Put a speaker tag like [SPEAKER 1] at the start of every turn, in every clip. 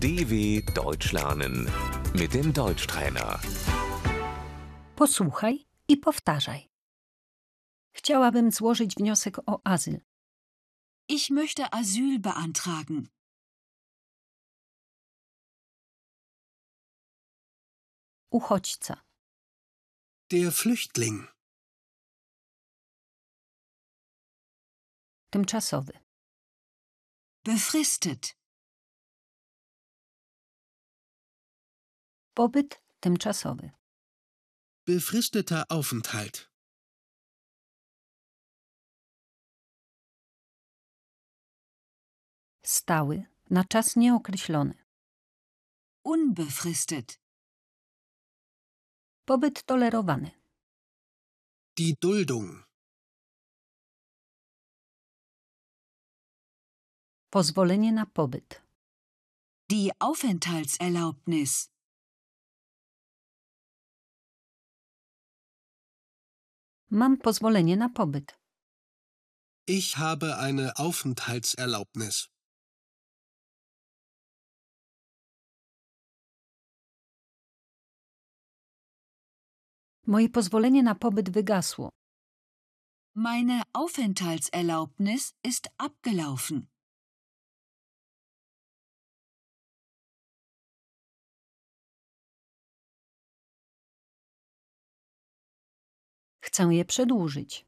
[SPEAKER 1] DW Deutsch lernen mit dem Deutschtrainer.
[SPEAKER 2] Posłuchaj i powtarzaj. Chciałabym złożyć wniosek o azyl.
[SPEAKER 3] Ich möchte Asyl beantragen.
[SPEAKER 2] Uchodźca.
[SPEAKER 4] Der Flüchtling.
[SPEAKER 2] Tymczasowy.
[SPEAKER 3] Befristet.
[SPEAKER 2] Pobyt tymczasowy.
[SPEAKER 4] Befristeter Aufenthalt.
[SPEAKER 2] Stały. Na czas nieokreślony.
[SPEAKER 3] Unbefristet.
[SPEAKER 2] Pobyt tolerowany.
[SPEAKER 4] Die Duldung.
[SPEAKER 2] Pozwolenie na pobyt.
[SPEAKER 3] Die Aufenthaltserlaubnis.
[SPEAKER 2] Mam pozwolenie na pobyt.
[SPEAKER 4] Ich habe eine Aufenthaltserlaubnis.
[SPEAKER 2] Moje pozwolenie na pobyt wygasło.
[SPEAKER 3] Meine Aufenthaltserlaubnis ist abgelaufen.
[SPEAKER 2] Chcę je przedłużyć.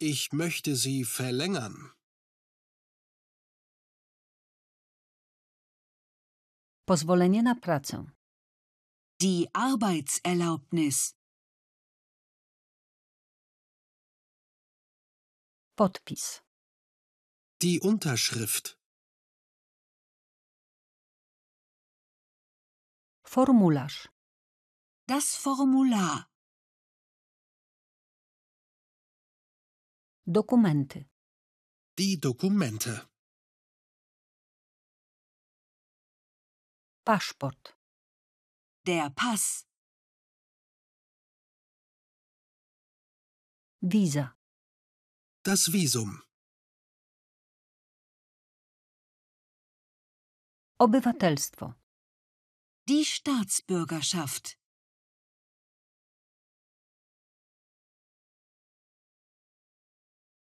[SPEAKER 4] Ich möchte sie verlängern.
[SPEAKER 2] Pozwolenie na pracę.
[SPEAKER 3] Die Arbeitserlaubnis.
[SPEAKER 2] Podpis.
[SPEAKER 4] Die Unterschrift.
[SPEAKER 2] Formularz.
[SPEAKER 3] Das Formular.
[SPEAKER 2] Dokumenty.
[SPEAKER 4] Die Dokumente.
[SPEAKER 2] Paszport.
[SPEAKER 3] Der Pass.
[SPEAKER 2] Wiza.
[SPEAKER 4] Das Visum.
[SPEAKER 2] Obywatelstwo.
[SPEAKER 3] Die Staatsbürgerschaft.